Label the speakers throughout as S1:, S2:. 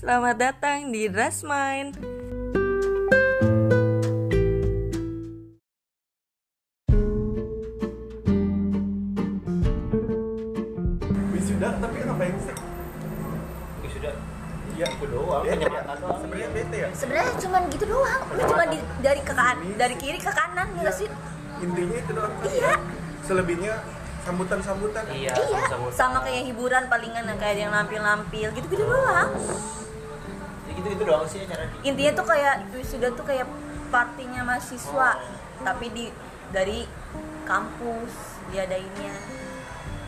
S1: Selamat datang di Rasmain.
S2: wisuda tapi kenapa yang sek
S3: sudah
S2: iya aku doang
S3: Penyematan doang.
S2: sebenarnya bete ya
S4: sebenarnya cuman gitu doang lu cuma di, dari ke kan dari kiri ke kanan nggak sih
S2: intinya itu doang
S4: iya
S2: selebihnya sambutan sambutan
S3: iya
S4: iya
S3: sama-sama.
S4: sama kayak hiburan palingan yang kayak ada yang nampil-nampil gitu-gitu doang
S3: Ya gitu gitu doang sih acara di
S4: intinya tuh kayak wisuda tuh kayak partinya
S3: Oh.
S4: mahasiswa tapi di dari kampus diadainnya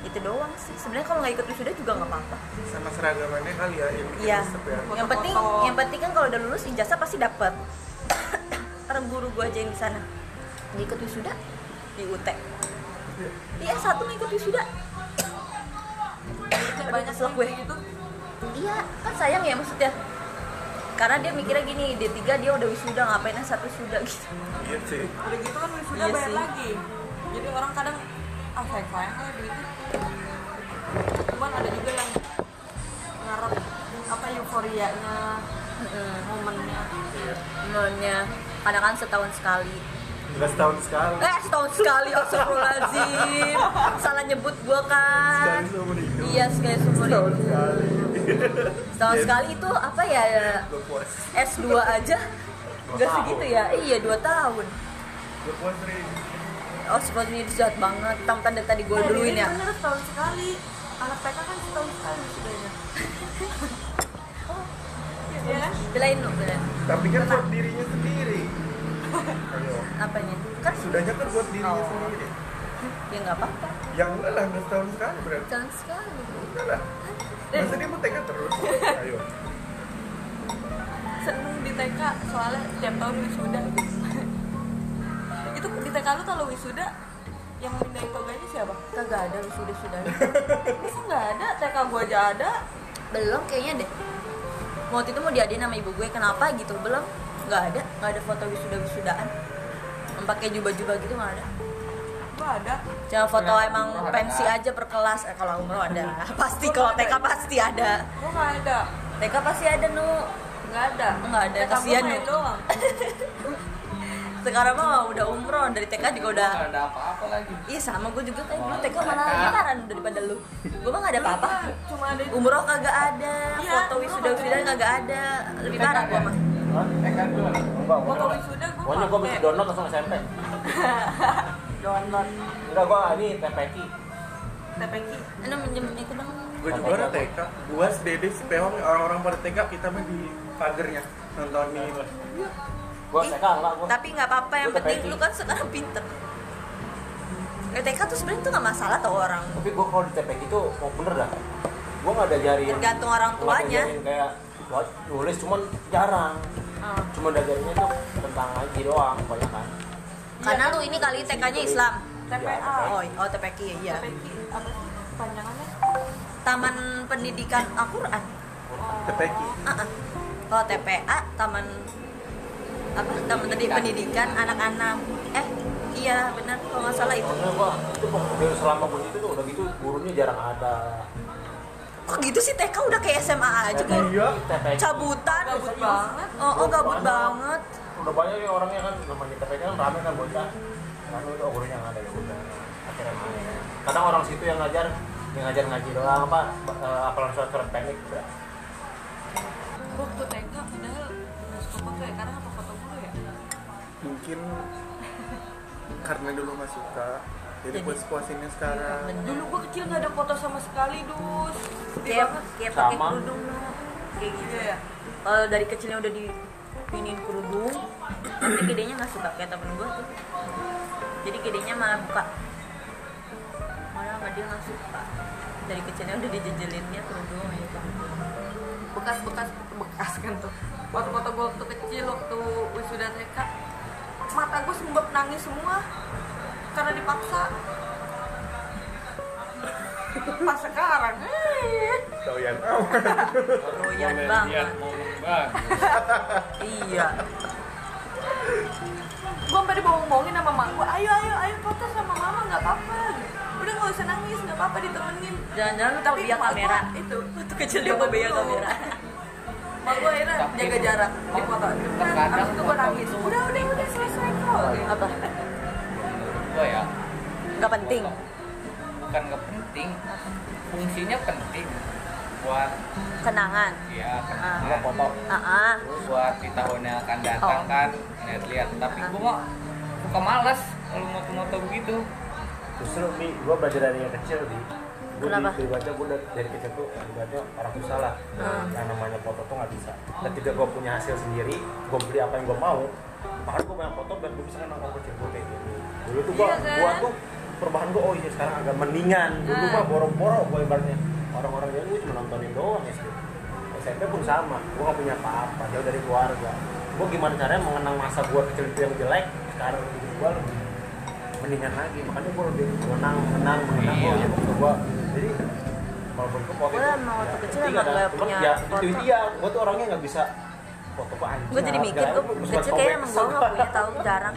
S4: itu doang sih sebenarnya kalau nggak ikut wisuda juga nggak apa-apa
S2: sama seragamannya kali ya yang bikin
S4: iya
S2: resep ya
S4: yang penting
S1: Foto-foto.
S4: yang penting kan kalau udah lulus ijazah pasti dapet Ntar guru gua aja yang di sana Nggak ikut wisuda di UT iya satu nggak ikut wisuda Aduh,
S1: banyak
S4: kesel gue
S1: itu
S4: iya kan sayang ya maksudnya karena dia mikirnya gini D3 dia udah wisuda ngapain yang satu wisuda gitu
S2: iya sih
S1: udah gitu kan wisuda
S4: Iya
S1: bayar
S4: sih.
S1: lagi jadi orang kadang ah kayak kaya kayak gitu cuman ada juga yang ngarep apa euforianya momennya
S4: momennya kadang kan setahun sekali
S2: enggak setahun sekali
S4: eh setahun sekali astagfirullahaladzim salah nyebut gua kan
S2: sekali seumur hidup
S4: iya sekali seumur
S2: setahun
S4: hidup.
S2: sekali
S4: setahun sekali itu apa ya
S2: gue puas
S4: S2 aja udah segitu ya iya dua tahun
S2: gue puas nih
S4: oh sepertinya itu jahat banget tang tanda tadi gue duluin ya
S1: bener setahun sekali anak TK kan setahun sekali wisudanya Iya kan?
S4: belain lo belain
S2: tapi kan buat dirinya sendiri ayo
S4: apanya kan
S2: sudahnya kan buat
S4: Oh.
S2: dirinya sendiri
S4: ya nggak apa-apa
S2: yang enggak lah enggak setahun sekali berarti
S4: setahun sekali
S2: enggak lah masa dia mau tega terus ayo
S1: seneng di TK soalnya tiap tahun wisuda itu di TK lu kalau wisuda yang mindahin toganya siapa?
S4: kagak ada sudah sudah
S1: Masa nggak ada? TK gua aja ada
S4: belum kayaknya deh waktu itu mau diadain sama ibu gue kenapa gitu belum nggak ada nggak ada foto wisuda wisudaan Yang pakai jubah-jubah gitu nggak ada
S1: gua ada
S4: cuma foto
S3: Nah.
S4: emang pensi aja per kelas eh, kalau umroh ada pasti kalau TK pasti ada
S1: gua nggak ada
S4: TK pasti ada nu
S1: nggak ada ya.
S4: Nggak ada,
S1: TK gua
S4: kasihan
S1: main
S4: lu.
S1: doang
S4: sekarang mah udah umroh dari TK juga udah
S3: Nggak ada apa-apa lagi Oh,
S4: iya sama gue juga kayak dulu TK malah lebaran daripada lu gue mah gak ada apa-apa
S1: cuma ada
S4: umroh kagak ada
S1: Iya,
S4: foto
S1: umroh
S4: wisuda
S1: kagak
S4: wisuda
S1: ada.
S4: kagak ada lebih parah gue mah
S3: eh kan gua
S1: Gua kalau wisuda gua
S3: Pokoknya gua
S1: pakai.
S3: mesti download langsung SMP
S1: download
S3: Enggak gua ini TPK
S1: TPK
S4: Anu minjem itu dong
S2: Gue juga orang TK. Gue dede si Peong orang-orang pada TK kita mah di pagernya nontonin.
S3: Gua
S4: Ih,
S3: TK enggak gua
S4: tapi nggak apa-apa yang
S3: Gua
S4: penting
S3: TPK.
S4: lu kan sekarang pinter Ya, TK tuh sebenarnya tuh nggak masalah tau orang
S3: Tapi gua kalau di TPK itu mau bener dah Gua nggak ada jariin
S4: Tergantung orang
S3: nggak ada
S4: tuanya.
S3: jariin Kayak buat nulis cuman jarang
S4: Oh.
S3: Cuma diajarinnya tuh tentang ngaji doang banyak kan
S4: karena lu ini kali TK-nya Islam
S1: TPA.
S4: oh, oh TPK iya
S1: TPK apa sih panjangannya
S4: Taman Pendidikan Al-Quran
S1: Oh.
S2: TPK.
S4: Ah, ah. Kalau TPA Taman apa Taman tadi Pendidikan anak-anak. Eh, iya benar kalau nggak salah itu.
S3: Soalnya gua itu pokoknya dari selama gua itu tuh udah gitu gurunya jarang ada
S4: Kok gitu sih TK udah kayak SMA aja kok.
S2: Iya.
S3: TPK
S4: Cabutan.
S1: gabut banget
S4: Oh, oh gabut banget.
S3: udah banyak ya orangnya kan namanya TPK kan rame kan bocah kan itu gurunya nggak ada ya udah akhirnya main kadang orang situ yang ngajar yang ngajar ngaji doang apa eh, apalan surat surat pendek udah
S1: waktu TK padahal nggak suka foto ya karena apa foto dulu ya
S2: Mungkin karena dulu nggak suka, jadi Iya, puas puasinnya sekarang.
S1: dulu gua kecil nggak ada foto sama sekali dus sedih
S4: Kayak
S1: banget
S4: kayak pakai
S3: Sama.
S4: kerudung kayak gitu.
S1: iya ya
S4: Kalau dari kecilnya udah di pinin kerudung, tapi gedenya nggak suka kayak temen gue tuh. Jadi gedenya malah buka. Malah sama dia nggak suka. Dari kecilnya udah dijejelinnya kerudung ya kan. aja kerudung.
S1: bekas-bekas bekas kan tuh foto-foto gue waktu kecil waktu wisuda TK mata gue sumbab nangis semua karena dipaksa pas sekarang eh.
S2: Doyan.
S4: Royan banget.
S3: iya.
S4: iya.
S1: gue sampai dibohong-bohongin sama mak gue ayo ayo ayo foto sama mama nggak apa-apa udah nggak usah nangis nggak apa-apa ditemenin
S4: Jangan-jangan lu tau
S1: Tapi
S4: dia
S1: emak gua
S4: kamera.
S1: itu
S4: Waktu kecil dia
S1: Dia
S4: bebaya
S1: betul.
S4: kamera.
S1: Mak gue akhirnya
S5: Tapi-
S1: jaga jarak di foto. Depan,
S5: terkadang
S1: abis itu gue
S5: foto
S1: nangis.
S5: tuh-
S1: Udah, udah, udah, selesai kok. Gitu.
S4: apa
S5: menurut gue ya
S4: nggak penting
S5: bukan nggak penting fungsinya penting buat
S4: kenangan
S5: ya
S4: Ah.
S5: kenangan
S4: ah ah
S5: Gua buat di tahun yang akan datang
S4: Oh.
S5: kan lihat-lihat tapi
S4: Ah.
S5: gua mah suka malas kalau moto-moto begitu
S3: Justru Bi, gua belajar dari yang kecil Bi Gue
S4: Kenapa?
S3: dibaca, gue dari, dari kecil tuh dibaca orang susah lah
S4: Hmm.
S3: Yang namanya foto tuh nggak bisa Ketika gue punya hasil sendiri, gue beli apa yang gue mau Makanya gue banyak foto biar gue bisa kenal orang kecil gue kayak gini Dulu tuh gue,
S1: Iya kan?
S3: gua tuh perubahan gue, oh iya sekarang agak mendingan Dulu
S1: Hmm.
S3: mah borok-borok gue ibaratnya Orang-orang yang gue cuma nontonin doang ya, SD SMP pun sama, gue gak punya apa-apa, jauh dari keluarga Gue gimana caranya mengenang masa gue kecil itu yang jelek Sekarang gue lebih mendingan lagi makanya gue lebih menang menang menang
S5: Iya.
S3: oh ya maksud gue jadi walaupun gue foto
S4: Gue emang waktu
S3: ya,
S4: kecil
S3: penting
S4: emang
S3: ada.
S4: gak
S3: Cuman
S4: punya
S3: ya,
S4: foto.
S3: itu dia gue tuh orangnya nggak bisa foto ke anjing
S4: gue jadi mikir
S3: harga,
S4: gue
S3: gua suka
S4: kecil kayaknya
S3: sobek.
S4: emang ya, gue nggak punya tahu jarang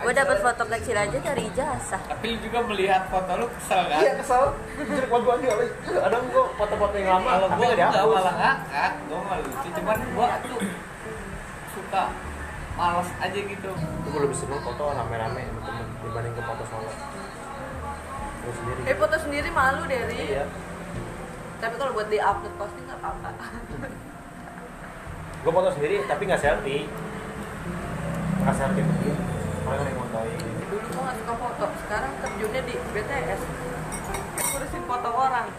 S4: gue dapat foto kecil aja dari ijazah
S5: tapi lu juga melihat foto lu kesel kan
S3: iya kesel jadi buat gue aja kadang gue foto-foto yang lama
S5: kalau
S3: tapi
S5: gua
S3: nggak
S5: enggak
S3: dihapus
S5: malah ngakak gua malah lucu cuman gua tuh suka malas aja gitu
S3: gue lebih seneng foto rame-rame sama temen dibanding ke foto solo gue sendiri
S1: Eh foto sendiri malu dari.
S3: iya
S1: Tapi kalau buat di upload posting nggak apa-apa.
S3: gue foto sendiri tapi nggak selfie nggak selfie begini orang yang mau tahu
S1: Dulu gue nggak suka foto. Sekarang terjunnya di BTS. Ngurusin foto orang.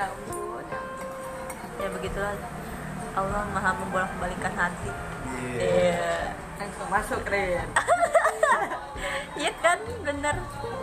S1: Ya ampun. ya ampun.
S4: ya begitulah Allah maha membolak balikan hati
S2: Iya.
S4: iya
S1: Langsung masuk Ren.
S4: iya kan bener